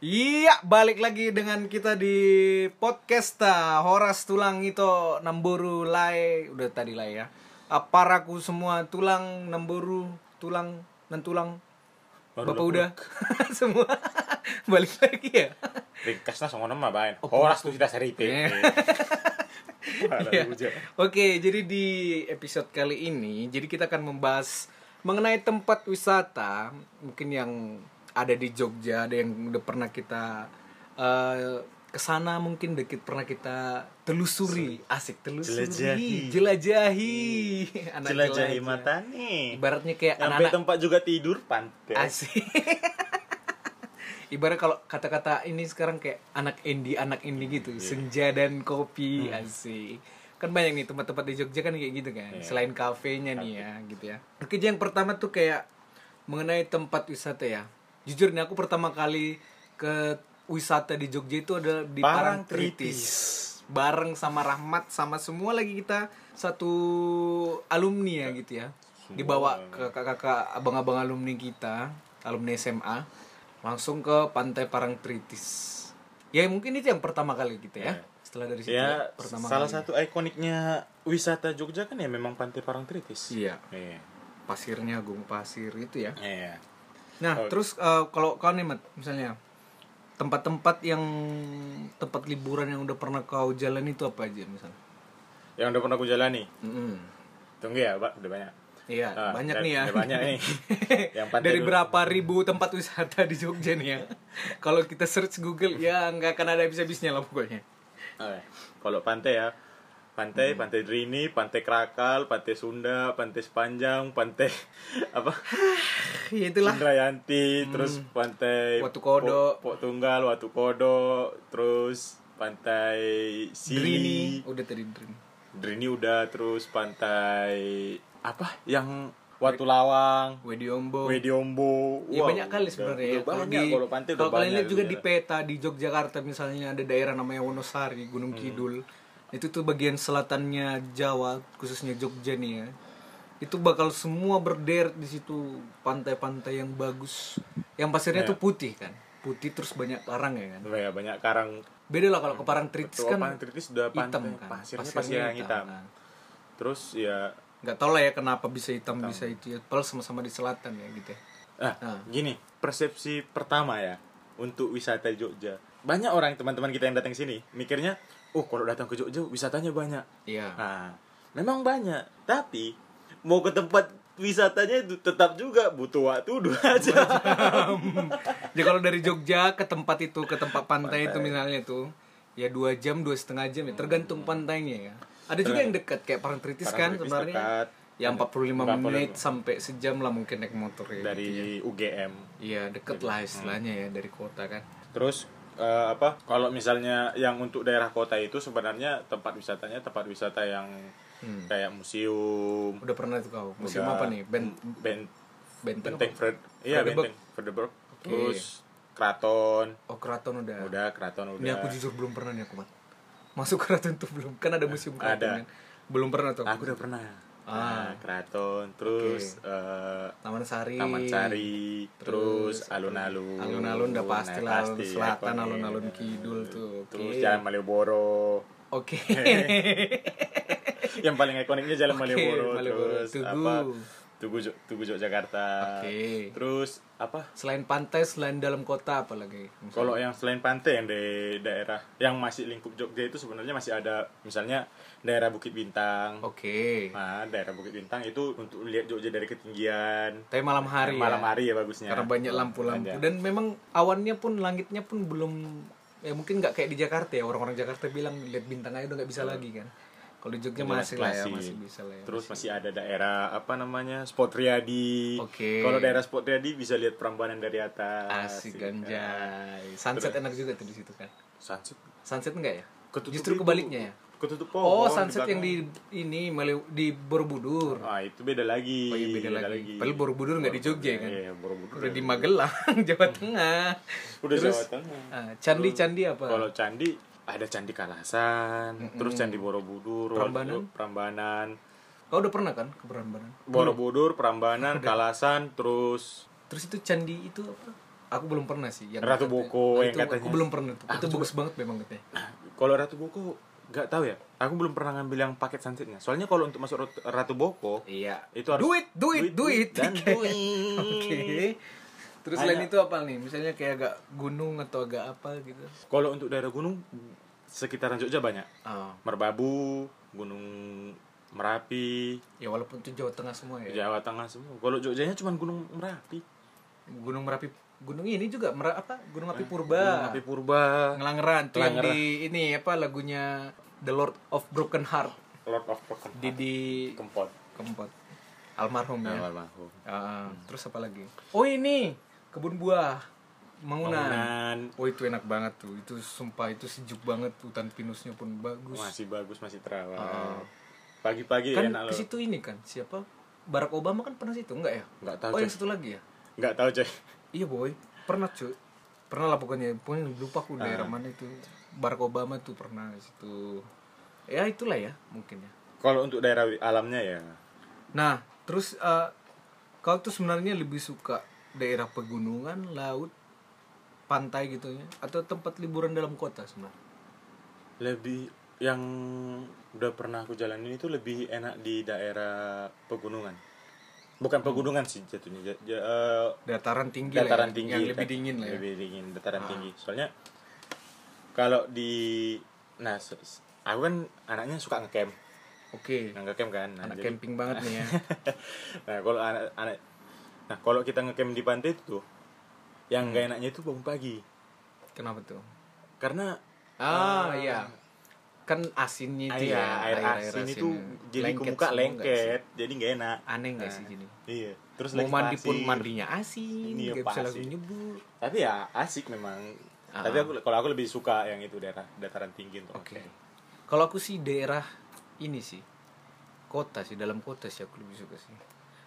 Iya, balik lagi dengan kita di podcasta Horas Tulang itu Nemburu Lai udah tadi lah ya. Aparaku semua tulang Nemburu tulang dan tulang Baru Bapak dah udah semua balik lagi ya. Ringkasnya sama nama bain. Oh, Horas tuh tidak seripe. Oh, Iya. Iya. Oke, jadi di episode kali ini, jadi kita akan membahas mengenai tempat wisata mungkin yang ada di Jogja, ada yang udah pernah kita eh, kesana mungkin dikit pernah kita telusuri, asik telusuri, Jelajahi. jelajahi, Anak Jelajahi jelajah. mata nih. Ibaratnya kayak Sampai anak-anak tempat juga tidur pantai. asik. Ibarat kalau kata-kata ini sekarang kayak anak indie, anak indie gitu, senja dan kopi asik. Kan banyak nih tempat-tempat di Jogja kan kayak gitu kan. Selain kafenya nih ya, gitu ya. Kerja yang pertama tuh kayak mengenai tempat wisata ya. Jujur nih aku pertama kali ke wisata di Jogja itu adalah di Parangtritis. Bareng sama Rahmat sama semua lagi kita satu alumni ya gitu ya. Dibawa ke kakak-kakak abang-abang alumni kita, alumni SMA, langsung ke Pantai Parangtritis. Ya mungkin itu yang pertama kali gitu ya. Setelah dari situ Ya, ya, pertama salah kali. satu ikoniknya wisata Jogja kan ya memang Pantai Parangtritis. Iya, Iya. pasirnya gung pasir itu ya. Iya. Nah, terus eh, kalau kau nih, Mat, misalnya tempat-tempat yang tempat liburan yang udah pernah kau jalan itu apa aja misalnya? Yang udah pernah aku jalani. Mm-mm. Tunggu ya, Pak, udah banyak. Iya, Ah, banyak udah- nih ya. udah banyak nih. Yang pantai Dari dulu. berapa ribu tempat wisata di Jogja nih ya. kalau kita search Google ya nggak akan ada habis-habisnya lah pokoknya. Oke. Kalau pantai ya, pantai, Hmm. pantai Drini, pantai Krakal, pantai Sunda, pantai Sepanjang, pantai apa? Ya itulah. Indrayanti, terus pantai Hmm. Watu Kodok. Pok, Pok Tunggal, Watu Kodok, terus pantai Drini Sili, udah tadi Drini. Drini udah, terus pantai apa yang Watu Lawang, Wediombo. Oh. Wediombo. Ya Wah, banyak kali udah- sebenarnya udah ya. Kalau Banyak di- kalau pantai udah kalau kalian lihat banyak ya. juga di sebenarnya. peta di Yogyakarta misalnya ada daerah namanya Wonosari, Gunung Hmm. Kidul. Itu tuh bagian selatannya Jawa, khususnya Jogja nih ya. Itu bakal semua berderet di situ pantai-pantai yang bagus. Yang pasirnya Ya. tuh putih kan. Putih terus banyak karang ya kan. Banyak, banyak karang. Beda lah kalau ke Parangtritis Kalau kan pantai Tritis udah pantai hitam kan. pasirnya, pasir yang hitam. kan. Terus ya Nggak tau lah ya kenapa bisa hitam, bisa itu ya. Padahal sama-sama di selatan ya gitu ya. Nah, gini, persepsi pertama ya untuk wisata di Jogja. Banyak orang teman-teman kita yang datang sini mikirnya, "Oh, kalau datang ke Jogja wisatanya banyak." Iya. Nah, memang banyak, tapi mau ke tempat wisatanya itu tetap juga butuh waktu dua jam. Jadi Ya, kalau dari Jogja ke tempat itu ke tempat pantai, itu misalnya tuh ya dua jam dua setengah jam ya tergantung Hmm. pantainya ya. Ada juga yang dekat kayak Parangtritis kan Parangtritis sebenarnya. dekat. Ya 45 menit sampai sejam lah mungkin naik motor ya. Dari UGM. Iya deket lah istilahnya Hmm. ya dari kota kan. Terus eh, apa? Kalau misalnya yang untuk daerah kota itu sebenarnya tempat wisatanya tempat wisata yang kayak museum, Udah pernah tuh kau Hmm. museum udah- apa nih? Ben ben- benteng. Benteng apa? Fred. Iya, Fredeburg. Benteng Fredeburg. Terus Keraton. Oh keraton udah. Udah Keraton udah. Ini aku jujur belum pernah nih aku Mat. Masuk keraton tuh belum. Kan ada museum keraton. Ada. Kan? Belum pernah tuh. Aku udah pernah. Ah, Keraton, terus eh, Taman Sari. Taman Sari, terus alun-alun. Alun-alun udah pasti Nah, lah, alun pasti, selatan, ikonik. alun-alun kidul tuh, oke. Terus Jalan Malioboro. Oke. Yang paling ikoniknya Jalan Oke, Malioboro, Malioboro, terus Tugu. apa? Tugu Jo- Tugu Yogyakarta. Oke. Terus apa? Selain pantai, selain dalam kota apalagi? Misalnya. Kalau yang selain pantai yang di daerah yang masih lingkup Jogja itu sebenarnya masih ada misalnya daerah Bukit Bintang. Oke. Nah, daerah Bukit Bintang itu untuk lihat Jogja dari ketinggian. Tapi malam hari. ya. malam hari ya bagusnya. Karena banyak lampu-lampu Ada. dan memang awannya pun langitnya pun belum ya mungkin nggak kayak di Jakarta ya orang-orang Jakarta bilang lihat bintang aja udah nggak bisa lagi kan. Kalau di Jogja masih lah ya, masih bisa lah ya. Terus masih ada daerah apa namanya? Spot Riyadi. Oke. Kalau daerah Spot Riyadi bisa lihat perambanan dari atas. Asik kan? ganjai. Sunset enak juga tuh di situ kan. Sunset. Sunset enggak ya? Ketutup Justru itu- kebaliknya ya. Ketutup Oh, pohon. sunset yang belakang. di ini Maliw- di Borobudur. Ah, itu beda lagi. Oh iya beda lagi. Padahal Borobudur nggak di Jogja kan. Iya, Hmm. Borobudur. Udah di Magelang, Jawa Tengah. Udah Terus, Jawa Tengah. ah, candi-candi apa? Kalau candi ada candi Kalasan, terus candi Borobudur, Prambanan? Prambanan, Kau udah pernah kan ke Perambanan? Borobudur, Prambanan, Kalasan, terus Terus itu candi itu apa? Aku belum pernah sih. Yang kata- Ratu Boko Ah, yang itu Aku katanya. Ah, belum pernah tuh. Itu bagus banget memang katanya. kalau Ratu Boko nggak tahu ya. Aku belum pernah ngambil yang paket sunsetnya. Soalnya kalau untuk masuk Ratu- Ratu Boko Iya. itu harus Duit, duit, duit. dan duit. Oke. Terus selain itu apa nih? Misalnya kayak agak gunung atau agak apa gitu. Kalau untuk daerah gunung sekitaran Jogja banyak. Ah, Merbabu, Gunung Merapi, ya walaupun itu Jawa Tengah semua ya. Jawa Tengah semua. Kalau Jogjanya cuma Gunung Merapi. Gunung Merapi, gunung ini juga Mera- apa? Gunung Api Gunung Purba. Merapi Purba, Ngelangeran tuh yang Ngelangeran. di ini apa lagunya The Lord of Broken Heart. Lord of Broken Heart, Didi Kempot. Kempot. Almarhum ya. Almarhum. Ah, terus apa lagi? Oh ini kebun buah Mangunan. Bangunan Oh itu enak banget tuh. Itu sumpah itu sejuk banget. Hutan pinusnya pun bagus. masih bagus, masih terawat. Oh. Pagi-pagi ya, kan enak ke loh. situ ini kan siapa? Barack Obama kan pernah situ enggak ya? Nggak tahu, Oh yang Coy. satu lagi ya? Nggak tahu coy. Iya boy. Pernah cuy. Pernah lah pokoknya. Pokoknya lupa aku daerah mana itu. Barack Obama tuh pernah ke situ. Ya itulah ya mungkin ya. Kalau untuk daerah wi- alamnya ya Nah, terus eh, kau tuh sebenarnya lebih suka daerah pegunungan, laut, pantai gitu ya, atau tempat liburan dalam kota sebenarnya? lebih yang udah pernah aku jalanin itu lebih enak di daerah pegunungan. Bukan pegunungan sih jatuhnya. ja- ja- eh, Dataran Hmm. tinggi lah ya, dataran tinggi yang lebih dingin lah ya. lebih dingin dataran tinggi soalnya kalau di nah se- se- aku kan anaknya suka ngecamp Oke, nah, ngecamp kan nah, anak jadi- camping banget nih ya. nah kalau anak anak nah kalau kita ngecamp di pantai itu tuh yang gak enaknya itu bangun pagi Kenapa tuh? karena Ah, iya. Kan asinnya itu iya, ya, air, asin itu jadi ke semua nggak muka sih? lengket jadi gak enak Aneh nggak sih jadi? iya terus Mau lagi mandi pun pasir. mandinya asin, Iya, nggak bisa pasir. langsung nyebur. tapi ya asik memang Ah. tapi aku kalau aku lebih suka yang itu daerah dataran tinggi untuk Oke. ngecamp. Gitu. Kalau aku sih daerah ini sih kota sih dalam kota sih aku lebih suka sih.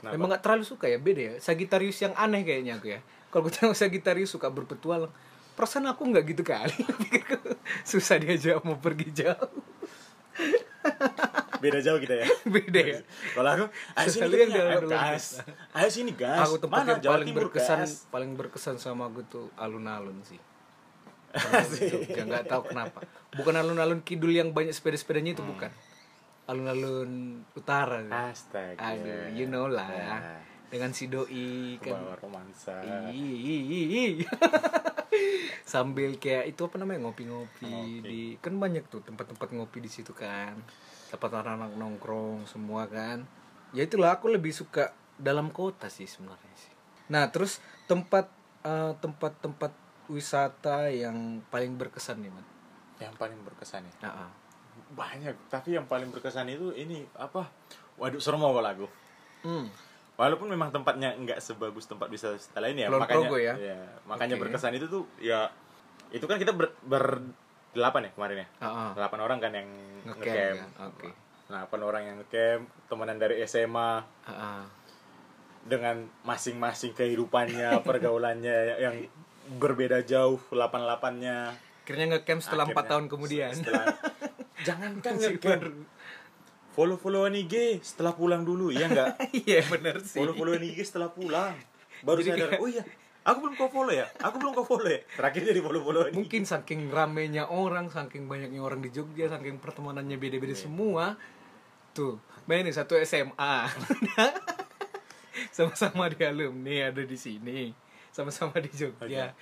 Kenapa? Memang nggak terlalu suka ya beda ya. Sagittarius yang aneh kayaknya aku ya. Kalau aku tahu Sagittarius suka berpetualang. Perasaan aku nggak gitu kali. Pikirku, Susah diajak mau pergi jauh. beda jauh kita ya beda ya. Kalau aku, ayo sini Kalian kita jangan ayo gas. Ayo sini gas. Aku tempat yang Jawa paling Timur, berkesan gas? paling berkesan sama aku tuh alun-alun sih. Alun-alun Jogja nggak tahu kenapa. Bukan alun-alun kidul yang banyak sepeda-sepedanya itu Hmm. bukan. Alun-alun utara. Ah, sih. Astaga. Aduh, you know lah. ya. Iya. Dengan si doi Kan kan. romansa. Ih, ih, ih, ih. Sambil kayak itu apa namanya ngopi-ngopi di kan banyak tuh tempat-tempat ngopi di situ kan. Tempat anak-anak nongkrong semua kan. Ya itulah aku lebih suka dalam kota sih sebenarnya sih. Nah, terus tempat eh, tempat-tempat wisata yang paling berkesan nih, Man. Yang paling berkesan ya. Nah, ah. Banyak, tapi yang paling berkesan itu ini apa? Waduk Sermo kalau aku. Hmm. Walaupun memang tempatnya nggak sebagus tempat wisata wisata lain ya, Kulon makanya Progo ya? iya, makanya Oke. berkesan itu tuh ya itu kan kita ber, berdelapan ya kemarin ya. Ah, ah. Delapan orang kan yang Ngecamp, ngecamp. kan? Oke. Delapan orang yang ngecamp, temenan dari SMA, Ah, ah. dengan masing-masing kehidupannya, pergaulannya yang berbeda jauh, lapan-lapannya. Akhirnya nge-camp setelah empat Akhirnya, tahun kemudian. setelah- jangankan ngecamp. Follow-followan IG setelah pulang dulu, iya enggak? Iya bener sih. Follow-followan IG setelah pulang. Baru sadar, oh iya, aku belum kau follow ya? Aku belum kau follow ya? Terakhir jadi follow-followan IG. Mungkin saking ramenya orang, saking banyaknya orang di Jogja, saking pertemanannya Iya. beda-beda semua. Tuh, main nih satu SMA. sama-sama di alumni ada di sini sama-sama di Jogja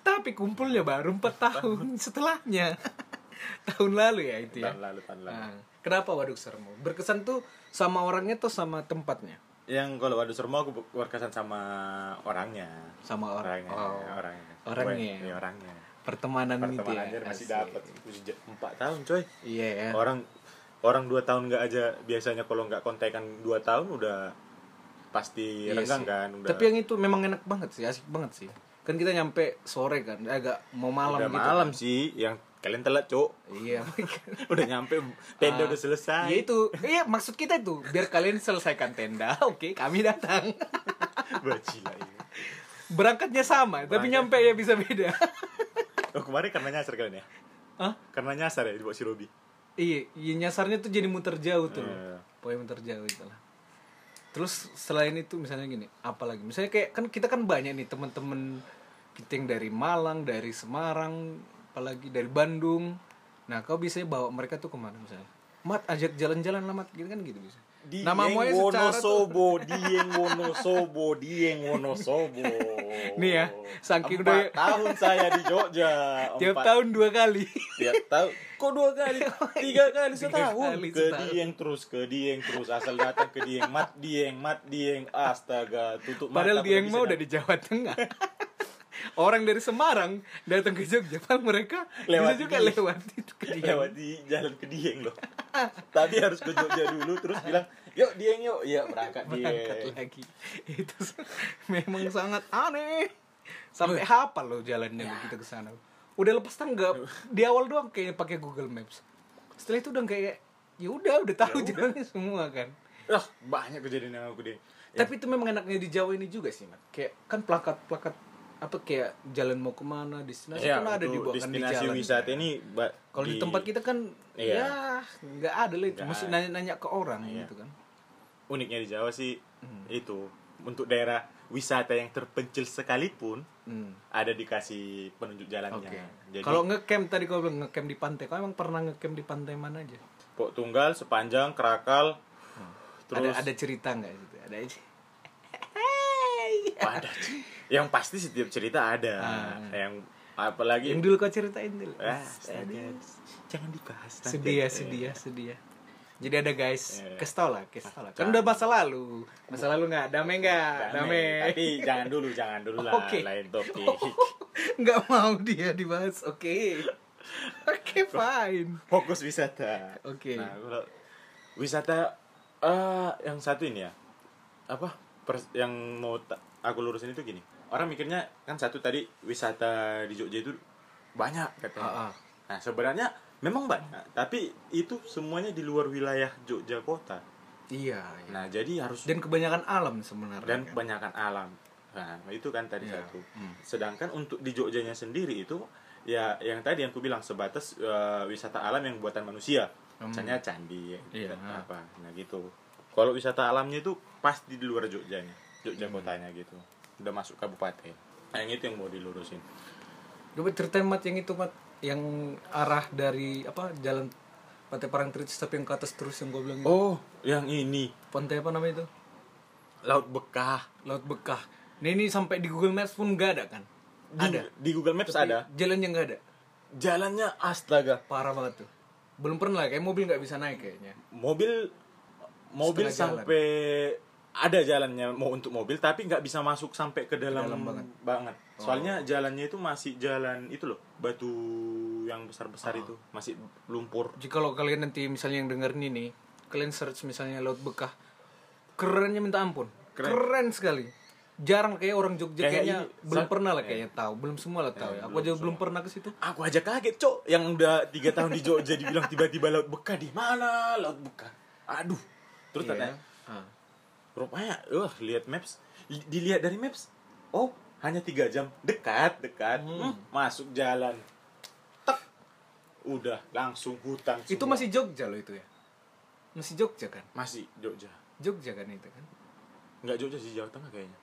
tapi kumpulnya baru empat tahun setelahnya tahun lalu ya itu ya Tahun lalu, tahun lalu. Nah, kenapa Waduk Sermo berkesan tuh sama orangnya tuh sama tempatnya Yang kalau waduh sermo aku berkesan sama orangnya. sama orang Orangnya, oh, orangnya. Orangnya. Iya, orangnya. pertemanan, gitu ya Pertemanan aja masih Oh, Asik. dapat. Udah Empat tahun coy. iya ya Orang orang dua tahun nggak aja biasanya kalau nggak kontekan dua tahun udah pasti Iya renggang sih. kan. Udah, Tapi yang itu memang enak banget sih, asik banget sih. Kan kita nyampe sore kan, agak mau malam udah gitu. malam sih. Yang kalian telat cok. Iya. udah nyampe tenda udah selesai. ya itu. Iya, maksud kita itu biar kalian selesaikan tenda, oke, kami datang. Bajila ini. Berangkatnya sama, tapi Berangkat. nyampe ya bisa beda. Oh kemarin karena nyasar kalian ya? Hah? Karena nyasar ya dibawa si Robi. Iya, iya, nyasarnya tuh jadi muter jauh tuh. Iya. Pokoknya muter jauh itu lah. Terus selain itu misalnya gini, apalagi misalnya kayak kan kita kan banyak nih temen-temen kita yang dari Malang, dari Semarang, apalagi dari Bandung. Nah kau biasanya bawa mereka tuh kemana misalnya? Mat ajak jalan-jalan lah Mat, gitu kan gitu bisa. Nama Dieng muanya secara tuh, Wonosobo, Dieng Wonosobo, Dieng Wonosobo. Nih ya, saking Empat udah- tahun saya di Jogja. tiap Empat- tahun dua kali. Tiap tahun. Kok dua kali? Tiga kali iya. Tiga setahun. kali Ke setahun. Dieng terus, ke Dieng terus. Asal datang ke Dieng, mat Dieng, mat Dieng. Astaga, tutup mata. Padahal dia yang mau udah udah di Jawa Tengah. Orang dari Semarang datang ke Jogja, padahal mereka Lewat bisa juga di- lewat itu ke dia. lewat di jalan ke Dieng loh. Tadi harus ke Jogja dulu, terus bilang, yuk Dieng yuk. Ya, berangkat berangkat Dieng. lagi itu s- memang sangat aneh sampai hafal lo jalannya begitu ke sana udah lepas tanggap di awal doang kayaknya pakai Google Maps setelah itu udah kayak ya udah udah tahu jalannya semua kan Ah, banyak kejadian yang aku di tapi itu memang enaknya di Jawa ini juga sih Mat. kayak kan plakat plakat apa kayak jalan mau kemana destinasi kan ada di bawah untuk kan di Ya, destinasi jalan wisata ini ba- kalau di tempat kita kan Iya. ya nggak ada lah itu Nggak mesti ada. Iya. nanya-nanya ke orang gitu kan uniknya di Jawa sih Hmm. itu untuk daerah wisata yang terpencil sekalipun Hmm. ada dikasih penunjuk jalannya. Oke. Iya. Jadi Kalau ngecamp tadi kau bilang ngecamp di pantai, kau emang pernah ngecamp di pantai mana aja? Pok Tunggal sepanjang Kerakal terus Hmm. ada ada cerita nggak gitu? Ada aja. ada yang pasti setiap cerita ada yang Ah, apalagi iya. Yang dulu kau ceritain dulu. Ah, astaga. Aduh, jangan dibahas nanti. sedih ya, Eh, sedih ya, sedih ya. Jadi ada guys, Iya. kesel lah, kesel lah. Kan udah masa lalu, masa lalu nggak, damai nggak, damai. Ah. damai. Tapi jangan dulu, jangan dulu lah Oke. Oh. lain topik. Nggak mau dia dibahas, oke, oke fine. fokus wisata. Oke. Nah, kalau wisata eh yang satu ini ya. Apa? pers- yang mau ta- aku lurusin itu gini. Orang mikirnya kan satu tadi wisata di Jogja itu banyak Ah, ah. katanya. Nah, sebenarnya memang banyak, tapi itu semuanya di luar wilayah Jogja kota. Iya. iya. Nah, jadi harus Dan kebanyakan alam sebenarnya. dan kan? kebanyakan alam. Nah, itu kan tadi Iya. satu. Sedangkan untuk di Jogjanya sendiri itu ya yang tadi yang ku bilang sebatas eh, wisata alam yang buatan manusia. Hmm. Misalnya candi Iya. dan apa. Nah, gitu. Kalau wisata alamnya itu pasti di luar Jogjanya, Jogja kotanya gitu. Udah masuk kabupaten. Nah, yang itu yang mau dilurusin. Coba ceritain mat yang itu mat yang arah dari apa jalan Pantai Parangtritis tapi yang ke atas terus yang gue bilang itu. Oh, yang ini pantai apa namanya itu Laut Bekah. Laut Bekah. Nah ini sampai di Google Maps pun nggak ada kan? Di, di Google Maps ada. Jalan yang nggak ada. Jalannya astaga. Parah banget tuh. Belum pernah kayak mobil nggak bisa naik kayaknya. mobil mobil Setengah sampai ada jalannya mau untuk mobil tapi nggak bisa masuk sampai ke dalam, dalam banget. Oh. banget. Soalnya jalannya itu masih jalan itu loh, batu yang besar-besar Oh. itu, masih lumpur. Jika kalau kalian nanti misalnya yang denger ini nih, kalian search misalnya Laut Bekah, kerennya minta ampun. Keren, sekali. Jarang kayak orang Jogja Kayak kayaknya ini, belum sa- pernah lah kayaknya tahu, belum semua lah tahu. ya. Aku aja belum pernah ke situ. Aku aja kaget, Cok, yang udah tiga tahun di Jogja dibilang tiba-tiba laut Beka di mana? Laut Beka. Aduh. Terus Iya. ya? katanya, Ah. rupanya wah lihat maps Li- dilihat dari maps oh hanya tiga jam dekat dekat Hmm, masuk jalan tek udah langsung hutan Itu semua. masih Jogja loh itu ya. Masih Jogja kan? masih Jogja Jogja kan itu kan? nggak Jogja sih Jawa Tengah kayaknya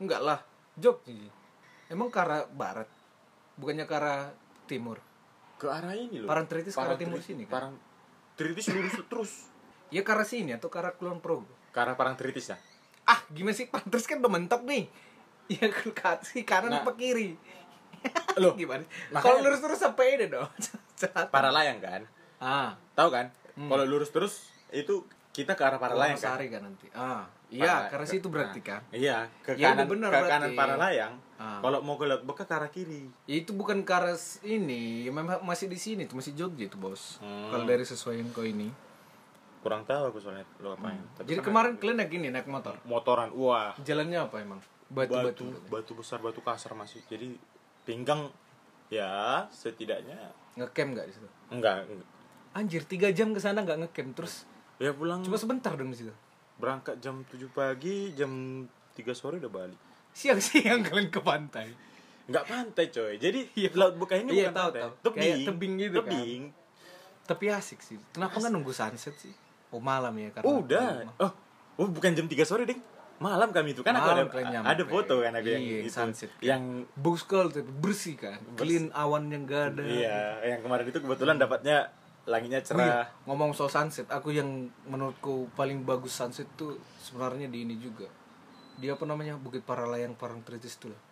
Enggak lah, Jogja. Emang ke arah barat. Bukannya ke arah timur. ke arah ini loh Parangtritis ke arah timur Parangtri- sini kan? Parangtritis lurus terus Ya ke arah sini atau ke arah Kulon Progo. ke arah Parangtritis ya ah gimana sih pantas kan udah mentok nih ya ke kasih kanan Nah. apa kiri Loh, gimana makanya- kalau lurus terus sampai ini dong Selatan. Para layang kan? ah Tahu kan? Kalau lurus terus itu kita ke arah para layang kan? Sari kan nanti ah iya Para- karena ke- situ berarti nah, kan Iya, ke Ya udah kanan bener ke berarti. kanan para layang. Ah. Kalau mau ke Laut Beka ke arah kiri. Ya, itu bukan karas ini memang masih di sini tuh masih Jogja itu bos Hmm. kalau dari sesuai info ini Kurang tahu aku soalnya lo apa Tapi Hmm. jadi kan kemarin kalian naik ini naik motor motoran. Wah, jalannya apa emang batu batu batu, batu besar, batu kasar masih. Jadi pinggang ya setidaknya ngecamp nggak di situ enggak. enggak. anjir tiga jam ke sana nggak ngecamp terus Ya pulang cuma sebentar dong di situ berangkat jam 7 pagi, jam 3 sore udah balik. siang siang kalian ke pantai Enggak pantai coy. Jadi Laut Beka ini Iya, bukan tahu, pantai. tahu. Tebing. Kayak tebing gitu kan. Tebing. tapi asik sih kenapa nggak nunggu sunset sih oh malam ya karena Udah. Oh, oh bukan jam 3 sore, Ding. Malam kami itu kan aku ada Malam kalian nyampe. ada foto kan aku yang Iya, itu. sunset. Yang Bagus kalau tuh bersih kan clean awan yang gak ada iya, yang kemarin itu kebetulan dapatnya langitnya Oh iya, cerah. ngomong soal sunset, aku yang menurutku paling bagus sunset tuh sebenarnya di ini juga. Dia apa namanya Bukit Paralayang Parangtritis tuh. loh. Iya.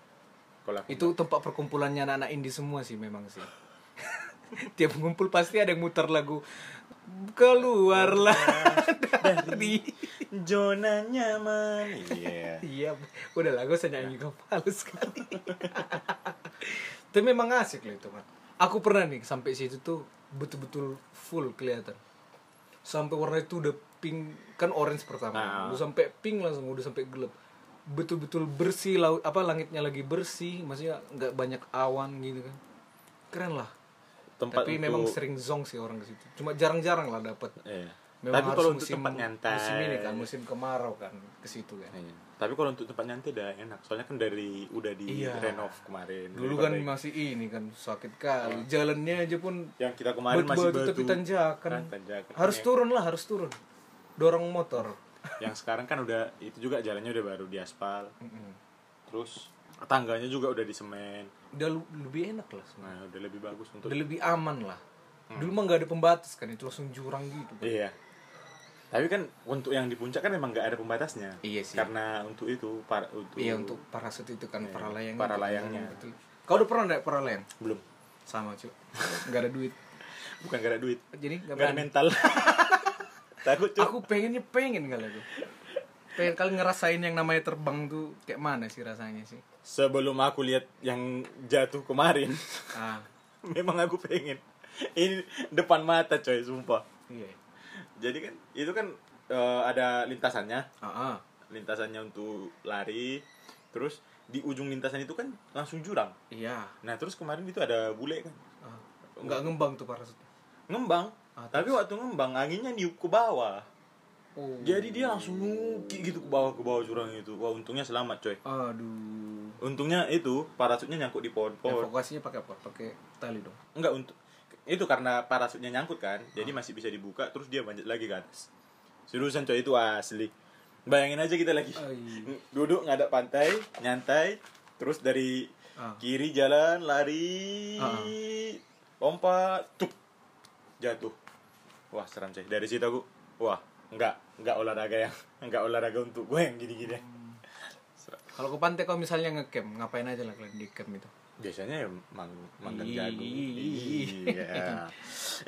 Kalau aku- Itu tempat perkumpulannya anak-anak indie semua sih memang sih. Tiap ngumpul pasti ada yang muter lagu keluarlah dari zona nyaman. Iya. Iya, udah lah, gue usah nyanyi kau palu sekali. Tapi memang asik loh itu, Mat. Aku pernah nih sampai situ tuh betul-betul full kelihatan. Sampai warna itu udah pink, kan orange pertama. Udah sampai pink langsung, udah sampai gelap. Betul-betul bersih laut apa langitnya lagi bersih, maksudnya nggak banyak awan gitu kan. Keren lah. Tempat Tapi untuk- memang sering zong sih orang ke situ. Cuma jarang-jarang lah dapat. Iya. Memang Tapi harus kalau untuk musim- tempat nyantai. Musim ini kan, musim kemarau kan ke situ kan. Iya. Tapi kalau untuk tempat nyantai udah enak. Soalnya kan dari udah di Iya. renov kemarin. Dulu Dari kan kota- masih ini kan sakit kali. Jalannya aja pun yang kita kemarin masih batu-batu batu. tapi tanjakan. Nah, tanjakan. Harus turun lah, harus turun. Dorong motor. yang sekarang kan udah itu juga jalannya udah baru diaspal terus tangganya juga udah disemen Udah lu- lebih enak lah sebenarnya. nah udah lebih bagus untuk Udah lebih aman lah. Dulu mah nggak ada pembatas kan, itu langsung jurang gitu. kan. iya tapi kan untuk yang di puncak kan emang nggak ada pembatasnya Iya sih. karena untuk itu para untuk Iya untuk parasut itu kan para layang. para gitu. layangnya. Betul. Kau udah pernah naik para layang? belum Sama cuy. nggak ada duit. bukan gara duit Jadi nggak gara berani. mental takut cuy Aku pengennya pengen kali aku. Pengen kali ngerasain yang namanya terbang tuh kayak mana sih rasanya sih? sebelum aku lihat yang jatuh kemarin Ah, memang aku pengen ini depan mata coy sumpah iya. jadi kan itu kan eh, ada lintasannya Ah, ah. lintasannya untuk lari terus di ujung lintasan itu kan langsung jurang Iya. nah terus kemarin itu ada bule kan Ah, nggak ngembang tuh parasutnya. ngembang Ah, tapi waktu ngembang anginnya niup ke bawah Oh. jadi dia langsung nyuki gitu ke bawah ke bawah jurang itu wah untungnya selamat coy Aduh. untungnya itu parasutnya nyangkut di pohon-pohon Evakuasinya pakai apa? Pakai tali dong. enggak untuk itu karena parasutnya nyangkut kan jadi masih bisa dibuka terus dia manjat lagi ke atas seriusan coy itu asli bayangin aja kita lagi Ai. duduk ngadap pantai nyantai terus dari Ah. kiri jalan lari Ah. lompat tup jatuh wah seram sih dari situ aku wah enggak enggak olahraga yang enggak olahraga untuk gue yang gini-gini ya. Seram. Kalau ke pantai kalau misalnya ngecamp, ngapain aja lah kalian di camp itu? biasanya ya mang manggang Ih. jagung iya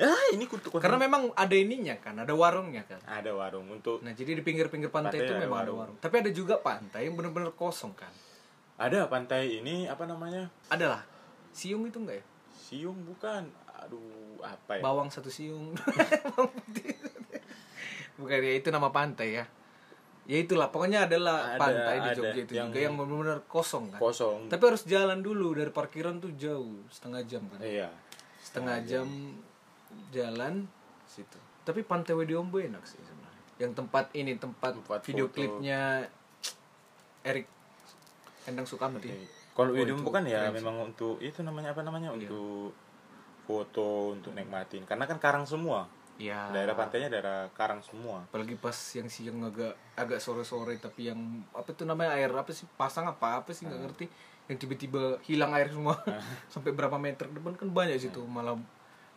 ah ini kutuk Karena memang ada ininya kan, ada warungnya kan. ada warung untuk Nah, jadi di pinggir-pinggir pantai, Pantai itu ada memang ada warung. warung. Tapi ada juga pantai yang benar-benar kosong kan. ada pantai ini apa namanya Adalah. Siung itu enggak ya? siung bukan aduh apa ya Bawang satu siung. Bawang putih. Bukan ya itu nama pantai ya. Ya itulah, pokoknya adalah Ada- pantai di ada Jogja itu yang- juga yang benar-benar kosong kan. kosong Tapi harus jalan dulu dari parkiran tuh jauh, setengah jam kan. iya Setengah jam jalan situ. Tapi Pantai Wediombo enak sih sebenarnya. Yang tempat ini tempat, Tempat video foto. klipnya Erik Endang Sukamti. Kalau Oh, video itu bukan ya keren sih. Iya. memang untuk itu namanya apa namanya untuk foto untuk nikmatin karena kan karang semua Ya. daerah pantainya daerah karang semua Apalagi pas yang siang agak agak sore-sore tapi yang apa tuh namanya air apa sih pasang apa apa sih nggak Ah. ngerti yang tiba-tiba hilang air semua sampai berapa meter ke depan kan banyak situ Ah. malah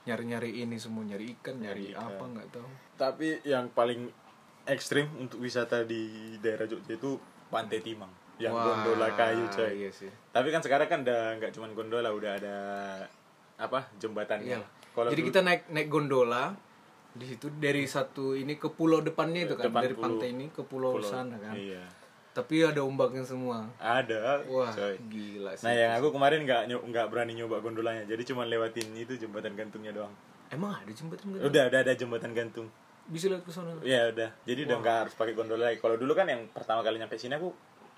nyari-nyari ini semua nyari ikan nyari, apa nggak tahu tapi yang paling ekstrim untuk wisata di daerah Jogja itu Pantai Timang yang Wah, gondola kayu coy. iya sih. Tapi kan sekarang kan udah nggak cuma gondola, udah ada apa Iya. jembatannya. Kalau Jadi dulu kita naik naik gondola di situ dari satu ini ke pulau depannya itu kan Depan dari pulau. pantai ini ke pulau, pulau- sana kan. Iya. Tapi ada ombaknya semua. Ada. Wah, coy. gila sih. Nah yang aku kemarin nggak nyo- nggak berani nyoba gondolanya, jadi cuma lewatin itu jembatan gantungnya doang. Emang ada jembatan gitu? Udah udah ada jembatan gantung. Bisa lihat ke sana. Ya udah, jadi udah nggak harus pakai gondola lagi. Kalau dulu kan yang pertama kali nyampe sini aku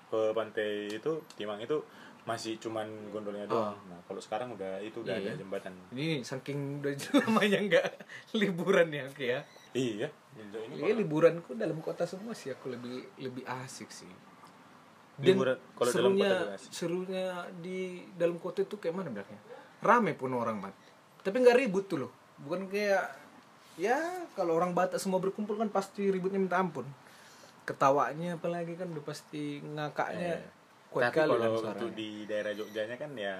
ke pantai itu Timang itu masih cuman gondolanya doang. Nah kalau sekarang udah itu udah ada jembatan. Ini saking udah lamanya nggak liburan ya, oke ya. Iya, Jogja ini Ya liburanku dalam kota semua sih aku lebih lebih asik sih. Liburan- kalau dalam serunya kota juga asik. serunya di dalam kota itu kayak mana bilangnya? Rame pun orang mat. Tapi nggak ribut tuh loh. Bukan kayak ya kalau orang Batak semua berkumpul kan pasti ributnya minta ampun. Ketawanya apalagi kan udah pasti ngakaknya kuat Iya, Tapi kali kan kalau suaranya. untuk di daerah Jogjanya kan ya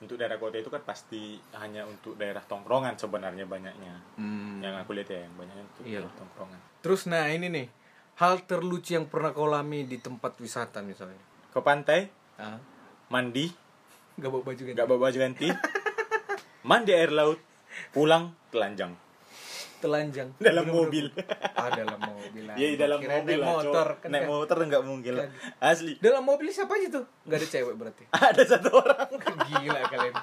untuk daerah kota itu kan pasti hanya untuk daerah tongkrongan sebenarnya banyaknya. Hmm. Yang aku lihat ya yang banyaknya untuk Iya. daerah tongkrongan. Terus nah ini nih hal terlucu yang pernah kau alami di tempat wisata misalnya. Ke pantai, Ah, mandi, nggak bawa baju kan? ganti. nggak bawa baju ganti, mandi air laut, pulang telanjang Telanjang. dalam Bener-bener mobil. Ah dalam mobil. aja. Iya dalam Kirain mobil naik lah, Cok. motor kan. naik nggak- motor nggak mungkin lah. Asli. Dalam mobil siapa aja tuh? Gak ada cewek berarti. Ada satu orang. Gila kalian.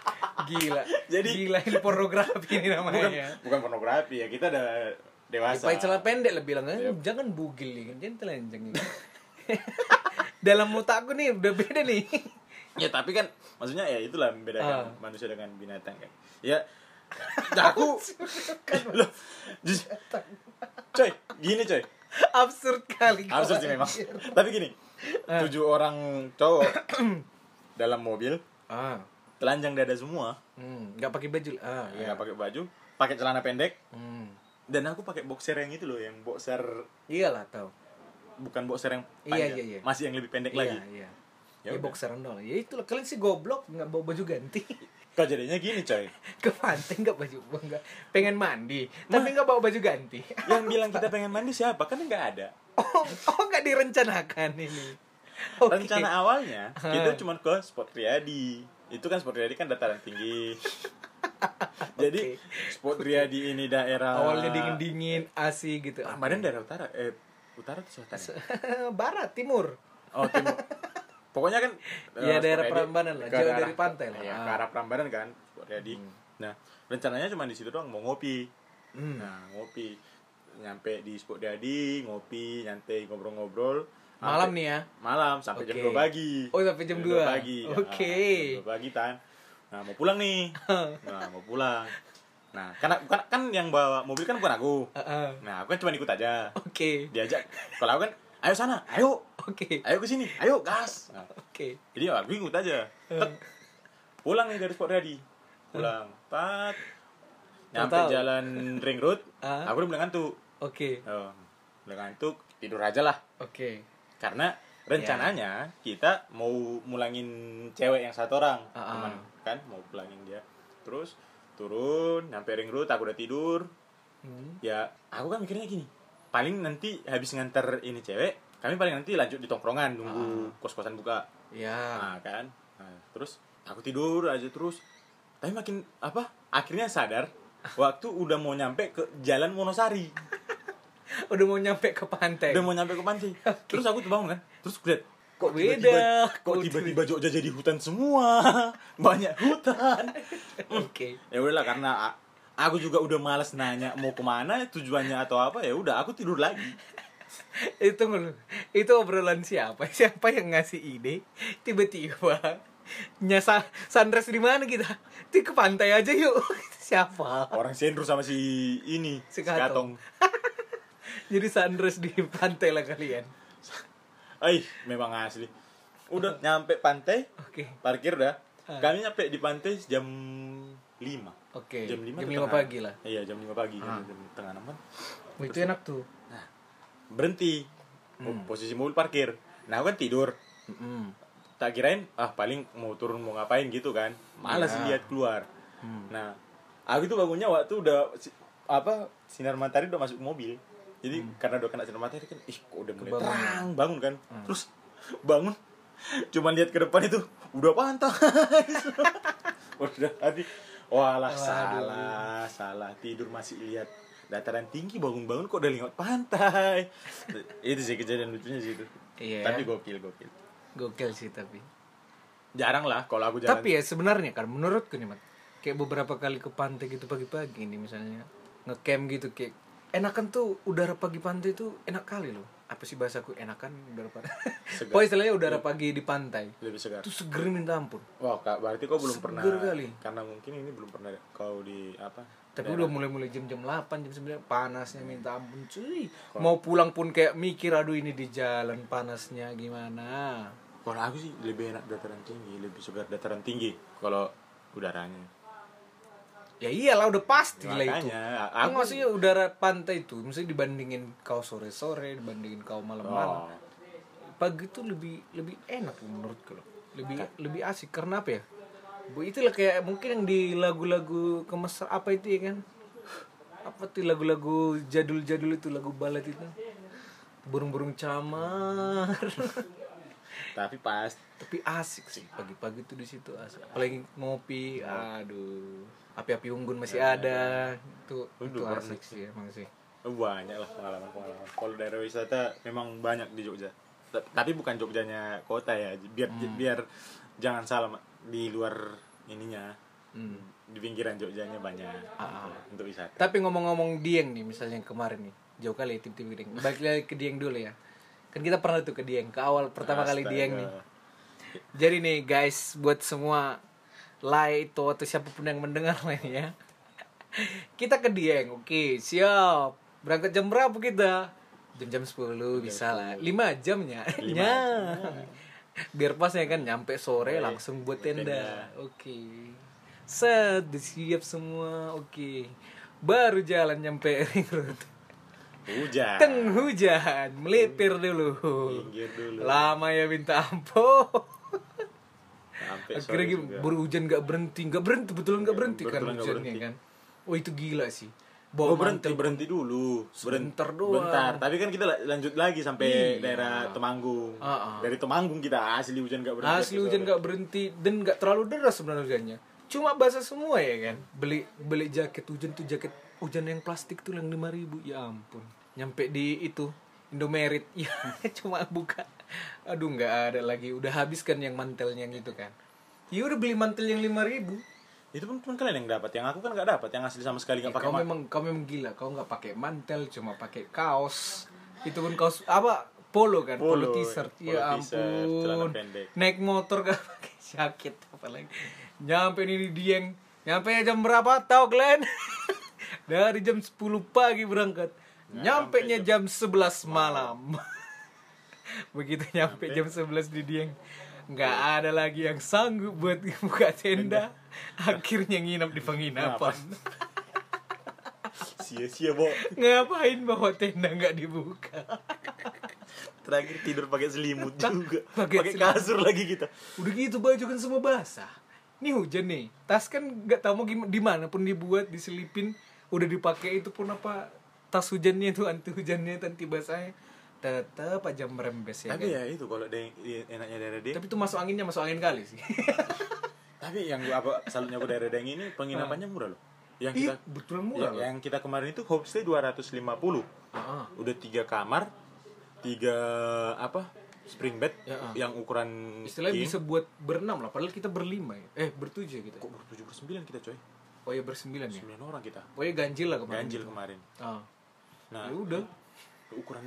Gila. Jadi Jadi- gila ini pornografi ini Bukan, namanya. bukan pornografi ya, kita udah dewasa. Pakai celana pendek lah bilang kan jangan bugil nih, jangan telanjang nih. dalam otakku nih udah beda nih. Ya tapi kan maksudnya ya itulah membedakan Ah. manusia dengan binatang kan. Ya nah, aku loh, jus- coy, gini coy. Absurd kali. kau. Absurd sih memang. Tapi gini, Ah. tujuh orang cowok dalam mobil Ah. telanjang dada semua, Hmm, gak pakai baju. lah. Ah, ya. nggak pakai baju, pakai celana pendek Hmm. dan aku pakai boxer yang itu loh, yang boxer Iyalah tahu. bukan boxer yang Iya, panjang, iya, iya. masih yang lebih pendek lagi. Iya, iya. Ya Ya, udah. boxer dong. Ya itulah kalian sih goblok nggak bawa baju ganti. Kok jadinya gini coy? Ke pantai nggak baju nggak pengen mandi, Nah. tapi nggak bawa baju ganti. Yang bilang kita pengen mandi siapa? Kan nggak ada. Oh, oh nggak direncanakan ini. Oke. Rencana awalnya Ah. kita cuma ke spot Riyadi. Itu kan spot Riyadi kan dataran tinggi. Jadi spot Riyadi ini daerah awalnya dingin-dingin, asi gitu. Ah, Medan daerah utara eh utara atau selatan? ya? Barat, timur. Oh, timur. Pokoknya kan eh, Iya, spot daerah Riyadi Prambanan lah, ke jauh arah- dari pantai lah. Iya, Ah. ke arah Prambanan kan spot Riyadi. Nah, rencananya cuma di situ doang mau ngopi. Hmm. Nah, ngopi nyampe di spot Riyadi, ngopi, nyantai ngobrol-ngobrol. Malam Sampai- nih ya. malam sampai Oke. jam 2 pagi. Oh, sampai jam 2. 2 pagi. Oke. Nah, jam 2 pagi tan. Nah, mau pulang nih. Nah, mau pulang. Nah, karena kan kan yang bawa mobil kan bukan aku. Heeh. Nah, aku kan cuma ikut aja. Oke. Diajak. Kalau aku kan, ayo sana, ayo. Oke. Ayo ke sini, ayo gas. Nah, Oke. jadi aku ikut aja. Tek. Pulang nih dari spot ready. Pulang. Tat. Nyampe Tahu-tahu. jalan ring road, Ah. aku udah bilang ngantuk. Oke. Oh, bilang ngantuk, tidur aja lah Oke. karena Iya. rencananya kita mau mulangin cewek yang satu orang Ah, teman ah. kan mau pulangin dia terus turun nyampe ring road aku udah tidur Hmm. ya aku kan mikirnya gini paling nanti habis nganter ini cewek kami paling nanti lanjut di Ah, tongkrongan nunggu kos-kosan buka Ya. nah, kan Nah, terus aku tidur aja terus tapi makin apa akhirnya sadar Ah. waktu udah mau nyampe ke jalan Monosari Udah mau nyampe ke pantai. udah mau nyampe ke pantai terus aku tuh bangun kan terus aku lihat kok tiba-tiba- beda? kok tiba-tiba Jogja jadi hutan semua banyak hutan Oke. ya udahlah karena a- aku juga udah malas nanya mau kemana tujuannya atau apa ya udah aku tidur lagi itu ngel- itu obrolan siapa siapa yang ngasih ide tiba-tiba nyasa sunrise di mana kita di ke pantai aja yuk siapa orang Sendro sama si ini Si si Katong. Katong jadi sunrise di pantai lah kalian eh memang asli udah nyampe pantai oke parkir dah kami nyampe di pantai jam 5 oke jam 5, jam lima pagi lah iya jam 5 pagi kan, jam tengah 6 Wah, itu enak tuh berhenti posisi mobil parkir nah aku kan tidur Mm-mm. tak kirain ah paling mau turun mau ngapain gitu kan malas Iya. Hmm. lihat keluar nah aku tuh bangunnya waktu udah si- apa sinar matahari udah masuk ke mobil Jadi Hmm. karena udah kena sinar matahari kan, ih kok udah mulai terang, bangun kan. Hmm. Terus bangun, cuman lihat ke depan itu udah pantas. udah tadi, walah salah, salah tidur masih lihat dataran tinggi bangun-bangun kok udah lewat pantai. itu sih kejadian lucunya sih itu. Iya. Tapi gokil gokil. Gokil sih tapi. Jarang lah kalau aku jalan. Tapi ya sebenarnya kan menurutku nih, Mat. Kayak beberapa kali ke pantai gitu pagi-pagi nih misalnya ngecamp gitu kayak enakan tuh udara pagi pantai tuh enak kali loh. Apa sih bahasaku enakan udara pantai? Segar. Pokoknya istilahnya udara pagi di pantai. lebih segar. Itu seger minta ampun. Wah, Kak, berarti kau belum pernah Seger kali. karena mungkin ini belum pernah kau di apa? Tapi udah mulai-mulai jam-jam 8, jam 9 panasnya minta ampun cuy. Mau pulang pun kayak mikir aduh ini di jalan panasnya gimana. Kalau aku sih lebih enak dataran tinggi, lebih segar dataran tinggi kalau udaranya. Ya iyalah udah pasti lah itu. Makanya Aku aku maksudnya udara pantai itu, misalnya dibandingin kau sore-sore, dibandingin kau malam-malam. Oh. Pagi itu lebih lebih enak menurutku loh. Lebih lebih asik karena apa ya? Bu itulah kayak mungkin yang di lagu-lagu kemesra apa itu ya kan? Apa tuh lagu-lagu jadul-jadul itu lagu balet itu? Burung-burung camar. tapi pas Tapi asik sih pagi-pagi tuh di situ asik. Apalagi ngopi, aduh. Api-api unggun masih ada. Itu itu asik sih emang sih. banyak lah pengalaman-pengalaman. Kalau daerah wisata memang banyak di Jogja. Ta- Tapi bukan Jogjanya kota ya, biar biar jangan salah Ma. di luar ininya. Di pinggiran Jogjanya banyak untuk wisata. Tapi ngomong-ngomong Dieng nih misalnya yang kemarin nih jauh kali ya tim-tim Dieng. Balik lagi ke Dieng dulu ya. Kan kita pernah tuh ke Dieng ke awal pertama kali Astaga. Dieng nih. Jadi nih guys buat semua like itu atau siapapun yang mendengar lah ini ya. Kita ke Dieng, oke siap. Berangkat jam berapa kita? Jam-jam 10 bisa lah. 5 jamnya. Ya. Biar pas ya kan nyampe sore langsung buat tenda. Oke. Set, udah siap semua. Oke. Baru jalan nyampe ring road. Hujan. Teng hujan, melipir dulu. Pinggir Ah. dulu. Lama ya minta ampun. Sampai Akhirnya sore gitu, juga. baru hujan gak berhenti, gak berhenti, betulan gak berhenti kan betulan nggak hujannya berhenti. kan. Oh itu gila sih. Bawa Oh, berhenti mantel. berhenti dulu. Sebentar Berhenti- doang. Iya. Bentar. Tapi kan kita la- lanjut lagi sampai daerah Temanggung. Ah, Dari Temanggung kita asli hujan gak berhenti. Asli hujan gak berhenti dan gak terlalu deras sebenarnya hujannya. Cuma basah semua ya kan. Beli beli jaket hujan tuh jaket hujan yang plastik tuh yang 5000. Ya ampun. Nyampe di itu Indomerit ya cuma buka. Aduh nggak ada lagi. Udah habis kan yang mantelnya gitu kan. Ya udah beli mantel yang 5000. Itu pun cuma kalian yang dapat. Yang aku kan gak dapat. Yang asli sama sekali gak Iya, pakai kau ma- memang kau memang gila kau nggak pakai mantel cuma pakai kaos itu pun kaos apa polo kan polo, Polo, t-shirt polo ya t-shirt, celana ampun pendek. naik motor gak pakai jaket apalagi nyampe ini di dieng nyampe jam berapa tau kalian dari jam 10 pagi berangkat nyampe nya jam 11 malam begitu nyampe jam 11 di dieng nggak ada lagi yang sanggup buat buka tenda akhirnya nginap di penginapan Sia-sia, Bo. Ngapain bawa tenda nggak dibuka? Terakhir tidur pakai selimut juga. Pakai Pakai selimut. kasur lagi kita. Udah gitu baju kan semua basah. Ini hujan nih. Tas kan nggak tahu mau gimana dimana pun dibuat diselipin udah dipakai itu pun apa tas hujannya itu anti hujannya anti basahnya tetap aja merembes ya. Tapi kan? ya itu kalau de- i- enaknya daerah dia. Tapi itu masuk anginnya ya. masuk angin kali sih. Tapi yang gua apa salutnya aku daerah Deng ini penginapannya murah loh. Yang kita Iya, betul murah yang, loh. yang kita kemarin itu homestay 250. Ah, ah. udah tiga kamar tiga apa spring bed Ya, ah. yang ukuran Istilahnya king. bisa buat berenam lah. Padahal kita berlima ya. Eh bertujuh kita. kok bertujuh bersembilan kita coy Oh ya bersembilan ya. sembilan orang kita Pokoknya ganjil lah kemarin. ganjil kemarin Ah. nah Ya udah. ukuran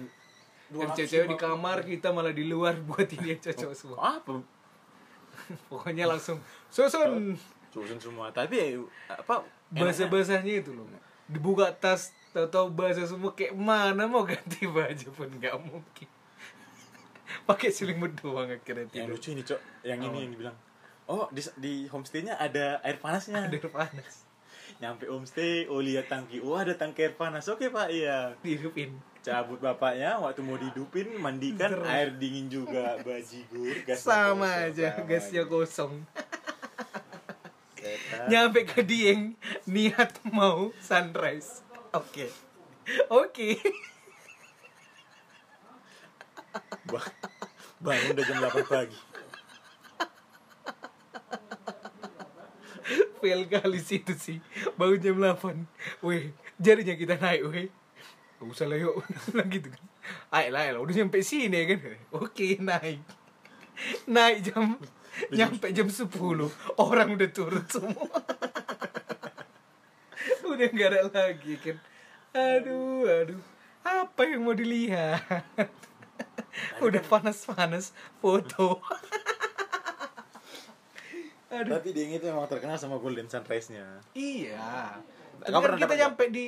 Dan cewek-cewek di kamar kita malah di luar buat ini aja cowok semua. apa Pokoknya langsung susun susun semua tapi ya, apa bahasa-bahasanya itu loh. Dibuka tas tahu bahasa semua kayak mana mau ganti baju pun nggak mungkin. Pakai selimut doang akhirnya yang tidur. lucu ini cok yang ini yang dibilang oh di, di homestaynya ada air panasnya Tidur panas. nyampe homestay oh lihat tangki oh ada tangki air panas oke pak iya Dihidupin. cabut bapaknya waktu mau dihidupin mandikan air dingin juga bajigur gasnya Sama kosong, aja sama gasnya kosong. Setan. Nyampe ke Dieng niat mau sunrise. Oke. Oke. Ba- bangun udah jam 8 pagi fail kali sih itu sih baru jam 8 weh jarinya kita naik weh gak usah lah yuk lah gitu kan ayo lah ayo lah udah nyampe sini ya kan oke naik naik jam nyampe jam 10 orang udah turun semua udah nggak ada lagi kan aduh aduh apa yang mau dilihat udah panas-panas foto aduh tapi dia itu emang terkenal sama golden sunrise nya Iya. Tapi Kamu kan pernah kita dapat nyampe di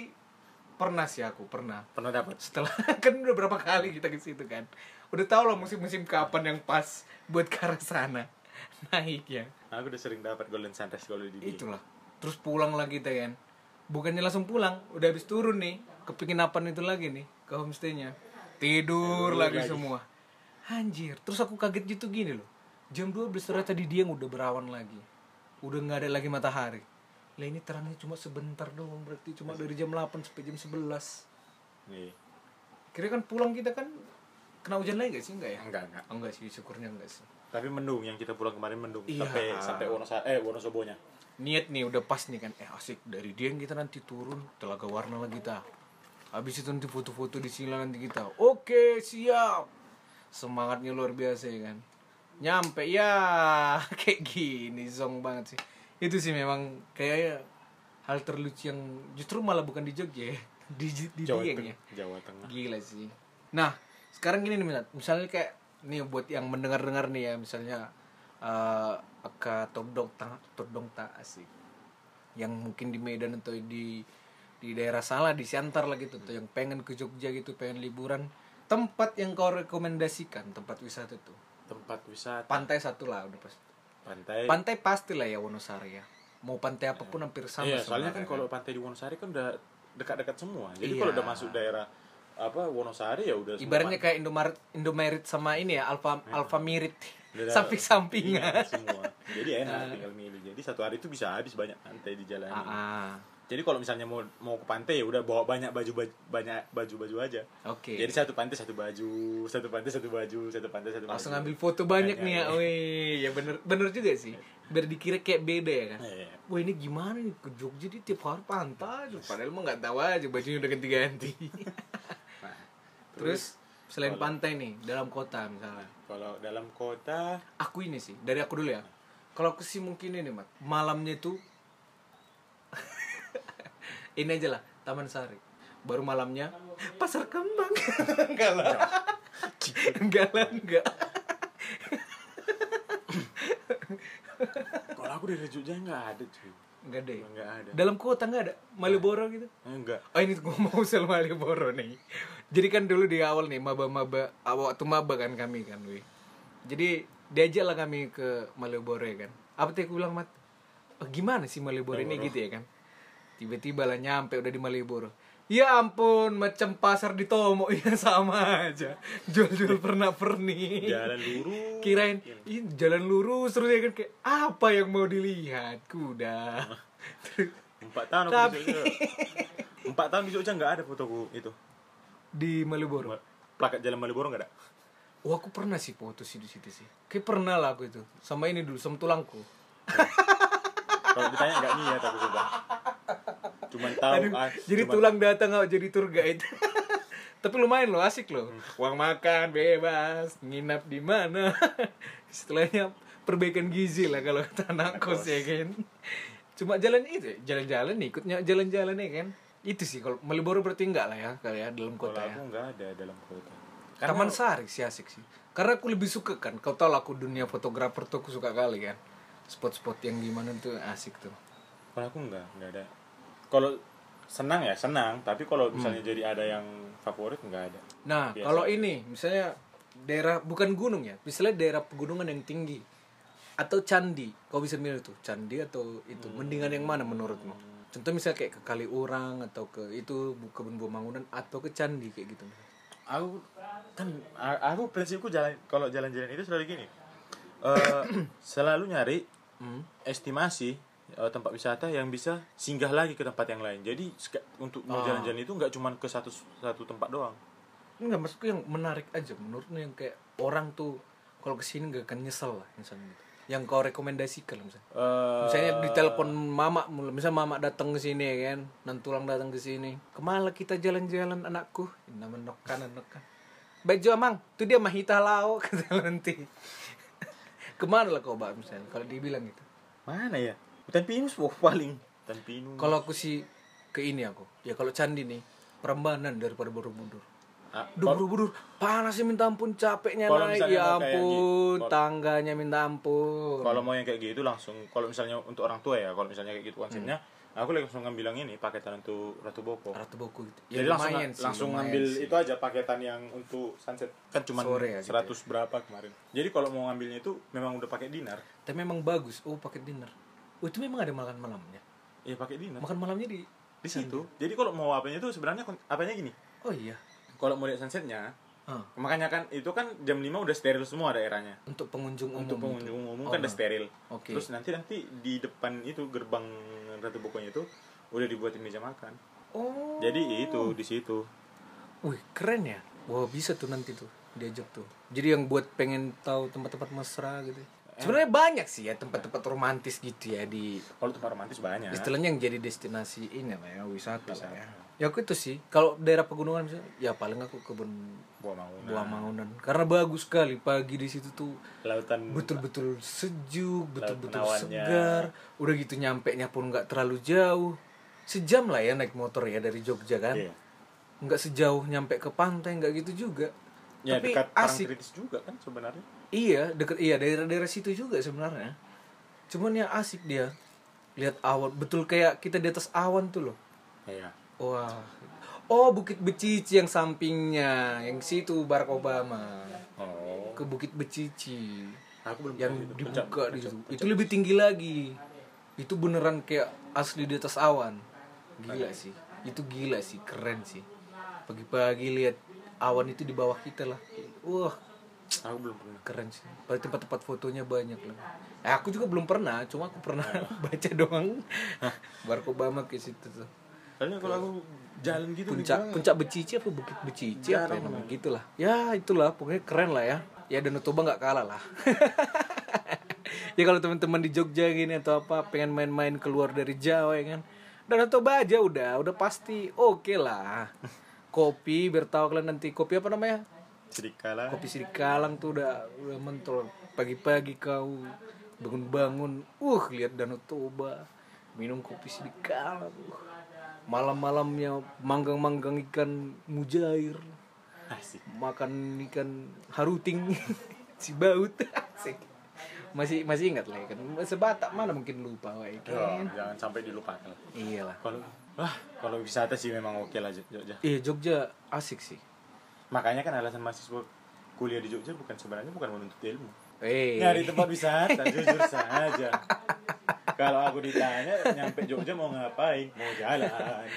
pernah sih aku pernah. pernah dapat Setelah kan udah berapa kali kita ke situ kan. Udah tau lah musim-musim kapan yang pas buat ke arah sana. Naik ya. aku udah sering dapat golden sunrise kalau di dia. Iya. Itulah. Terus pulang lagi kita kan. Bukannya langsung pulang, udah habis turun nih. Kepingin apaan itu lagi nih ke homestaynya. Tidur lagi, semua. Anjir, terus aku kaget gitu gini loh. Jam 12 ternyata di Dieng udah berawan lagi. Udah nggak ada lagi matahari. Lah ini terangnya cuma sebentar doang, berarti cuma dari jam 8 sampai jam 11. Nih. Kira kan pulang kita kan kena hujan lagi gak sih enggak ya? enggak enggak Oh, enggak sih, syukurnya enggak sih. tapi mendung yang kita pulang kemarin mendung Iya. sampai sampai Wonosa eh Wonosobonya niat nih udah pas nih kan eh asik dari dia yang kita nanti turun telaga warna lah kita habis itu nanti foto-foto di sini lah nanti kita oke siap semangatnya luar biasa ya kan nyampe ya kayak gini zong banget sih itu sih memang kayaknya hal terlucu yang justru malah bukan di Jogja ya di di Jawa Dieng ya Tengah Jawa Tengah Gila sih. Nah, sekarang gini nih Minat. Misalnya kayak nih buat yang mendengar-dengar nih ya, misalnya eh ke Todong Ta, Todong Ta asik. Yang mungkin di Medan atau di di daerah salah di Siantar lah gitu tuh yang pengen ke Jogja gitu, pengen liburan. Tempat yang kau rekomendasikan, tempat wisata tuh. tempat wisata Pantai satu lah udah pasti. pantai Pantai pastilah ya Wonosari ya. Mau pantai apapun hampir sama iya, soalnya kan sebenarnya. kalau pantai di Wonosari kan udah dekat-dekat semua jadi Iya. kalau udah masuk daerah apa Wonosari ya udah semua Iya. ibaratnya kayak Indomaret Indomaret sama ini ya Alfa Alfa Mirit Udah ada- samping-sampingan. Iya, semua jadi enak tinggal milih jadi satu hari itu bisa habis banyak pantai di jalan Ah, jadi kalau misalnya mau mau ke pantai ya udah bawa banyak baju baju banyak baju baju aja oke. jadi satu pantai satu baju satu pantai satu baju satu pantai satu baju Langsung ambil foto banyak Banyak, nih ya. iya. Wih, ya bener bener juga sih. Biar dikira kayak beda ya kan. Iya, iya. Wah ini gimana nih ke Jogja dia tiap hari pantai aja. Padahal mah nggak tahu aja bajunya udah ganti-ganti. Nah, terus Terus selain pantai nih dalam kota misalnya. Nah, kalau dalam kota Aku ini sih dari aku dulu ya. Kalau aku sih mungkin ini mat malamnya itu ini aja lah Taman Sari. Baru malamnya pasar kembang. Enggak lah. Enggak lah enggak. kalau aku dari Jogja nggak ada cuy Enggak deh. nggak ada Dalam kota nggak ada Malioboro gitu. enggak Oh ini gue mau sel Malioboro nih. Jadi kan dulu di awal nih maba-maba awal waktu maba kan kami kan weh. Jadi diajak lah kami ke Malioboro ya kan. Apa tadi aku bilang mat? "Eh, gimana sih Malioboro ini gitu ya kan? Tiba-tiba lah nyampe udah di Malioboro. Ya ampun, macam pasar di Tomo ya sama aja. Jual-jual pernak-pernik jalan lurus kirain "Ih, jalan lurus terus ya kan kayak apa yang mau dilihat kuda Terus empat tahun aku Tapi- di Jogja empat tahun di Jogja nggak ada fotoku itu di Malioboro plakat jalan Malioboro nggak ada Wah aku pernah sih foto sih di situ sih kayak pernah lah aku itu sama ini dulu sama tulangku kalau ditanya nggak niat aku sudah cuman tahu Aduh, ah, jadi cuman- tulang datang oh, jadi tour guide tapi lumayan loh asik loh uang makan bebas nginap di mana istilahnya perbaikan gizi lah kalau kata anak kos ya kan cuma jalan itu jalan-jalan ikutnya jalan-jalan ya kan itu sih kalau Malioboro berarti enggak lah ya kalau ya dalam kalau kota ya aku nggak ada dalam kota Taman Sari sih asik sih. Karena aku lebih suka kan, kau tau lah aku dunia fotografer tuh aku suka kali kan. Spot-spot yang gimana tuh asik tuh. kalau aku nggak nggak ada kalau senang ya senang tapi kalau misalnya jadi ada yang favorit nggak ada Nah, Biasa. kalau ini misalnya daerah bukan gunung ya, misalnya daerah pegunungan yang tinggi atau candi, kau bisa milih tuh candi atau itu mendingan yang mana menurutmu? Contoh misalnya kayak ke kali orang atau ke itu bu- kebun buah bangunan atau ke candi kayak gitu. aku kan a- aku prinsipku jalan kalau jalan-jalan itu selalu gini Eh, selalu nyari Hmm. estimasi eh, tempat wisata yang bisa singgah Ah. lagi ke tempat yang lain jadi seka- untuk mau jalan-jalan itu nggak cuma ke satu satu tempat doang nggak maksudku yang menarik aja menurutmu yang kayak orang tuh kalau kesini nggak akan nyesel lah misalnya gitu. yang kau rekomendasikan lah misalnya Eh, misalnya ditelepon mama misalnya mama datang ke sini ya kan nantulang datang ke sini kemana kita jalan-jalan anakku nama nokan nokan baju amang tuh dia mahita lau kata nanti kemana lah kau bak misalnya kalau dibilang gitu Mana ya? Hutan pinus wah paling. Tan Pinu. kalau aku sih ke ini aku ya kalau candi nih Prambanan daripada Borobudur Ah, Duh Borobudur panas sih minta ampun capeknya Kalau naik misalnya ya mau kayak ampun gitu, kalau- tangganya minta ampun kalau mau yang kayak gitu langsung kalau misalnya untuk orang tua ya kalau misalnya kayak gitu konsepnya aku langsung ngambil yang ini paketan untuk ratu boko Ratu Boku gitu. jadi langsung langsung lumayan ngambil sih. itu aja paketan yang untuk sunset kan cuma Sore ya, gitu 100 berapa kemarin jadi kalau mau ngambilnya itu memang udah pakai dinar Tapi memang bagus. Oh, paket dinner. Oh, itu memang ada makan malamnya. ya pakai dinar Makan malamnya di di situ jadi kalau mau apanya itu sebenarnya kon- apanya gini Oh iya. kalau mau lihat sunsetnya Ah, makanya kan itu kan jam 5 udah steril semua daerahnya untuk pengunjung umum. untuk pengunjung umum kan Oh, nah. udah steril Oke. terus nanti nanti di depan itu gerbang ratu bokonya itu udah dibuatin meja makan Oh. jadi itu di situ Wih, keren ya. Wah, bisa tuh nanti tuh diajak tuh. Jadi yang buat pengen tahu tempat-tempat mesra Eh. gitu. Sebenarnya banyak sih ya tempat-tempat romantis gitu ya di kalau tempat romantis banyak istilahnya yang jadi destinasi ini lah ya wisata, lah ya. Ya aku itu sih kalau daerah pegunungan misalnya, ya paling aku kebun buah mangunan buah mangunan karena bagus sekali pagi di situ tuh lautan betul-betul sejuk, betul-betul menawannya. segar. Udah gitu nyampe nya pun nggak terlalu jauh. Sejam lah ya naik motor ya dari Jogja kan. Iya. Nggak sejauh nyampe ke pantai nggak gitu juga. ya Tapi dekat asik. kritis juga kan sebenarnya Iya, deket iya daerah-daerah situ juga sebenarnya. Cuman ya asik dia. Lihat awan, betul kayak kita di atas awan tuh loh. iya Wah. Oh, Bukit Becici yang sampingnya, yang situ Barack Obama. oh Ke Bukit Becici. aku belum yang pernah situ. Pencak. dibuka di situ. Itu lebih tinggi lagi. Itu beneran kayak asli di atas awan. Gila sih. Itu gila sih, keren sih. Pagi-pagi lihat awan itu di bawah kita lah. Wah, aku belum pernah keren sih. Padahal tempat-tempat fotonya banyak lah. Eh, aku juga belum pernah, cuma aku pernah baca doang. Barack Obama ke situ tuh. soalnya kalau aku jalan gitu Puncak puncak becici apa bukit becici apa namanya gitulah. Ya, itulah pokoknya keren lah ya. Ya dan Toba nggak kalah lah. ya kalau teman-teman di Jogja gini atau apa pengen main-main keluar dari Jawa ya kan. Danau Toba aja udah, udah pasti oke lah. Kopi, biar tahu kalian nanti kopi apa namanya? sedikala Kopi Sirikalang tuh udah udah mentol. Pagi-pagi kau bangun-bangun, uh lihat Danau Toba, minum kopi Sirikalang. Uh. Malam-malamnya manggang-manggang ikan mujair, asik makan ikan haruting, si baut. Asik. Masih masih ingat lah ya kan. Sebatak mana mungkin lupa wae Oh, kan. jangan sampai dilupakan Iyalah. kalau wah kalau wisata sih memang oke lah Jo- Jogja Iya Jogja asik sih. makanya kan alasan mahasiswa kuliah di Jogja bukan sebenarnya bukan menuntut ilmu Eh. nyari tempat wisata jujur saja kalau aku ditanya nyampe Jogja mau ngapain mau jalan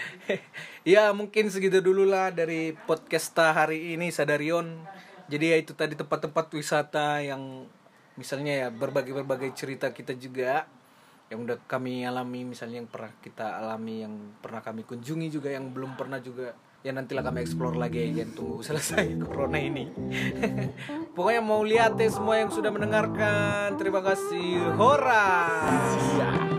ya mungkin segitu dulu lah dari podcasta hari ini Sadarion jadi ya itu tadi tempat-tempat wisata yang misalnya ya berbagai-berbagai cerita kita juga yang udah kami alami misalnya yang pernah kita alami yang pernah kami kunjungi juga yang belum pernah juga ya nantilah kami explore lagi ya tunggu selesai corona ini pokoknya mau lihat ya semua yang sudah mendengarkan terima kasih hora Siap.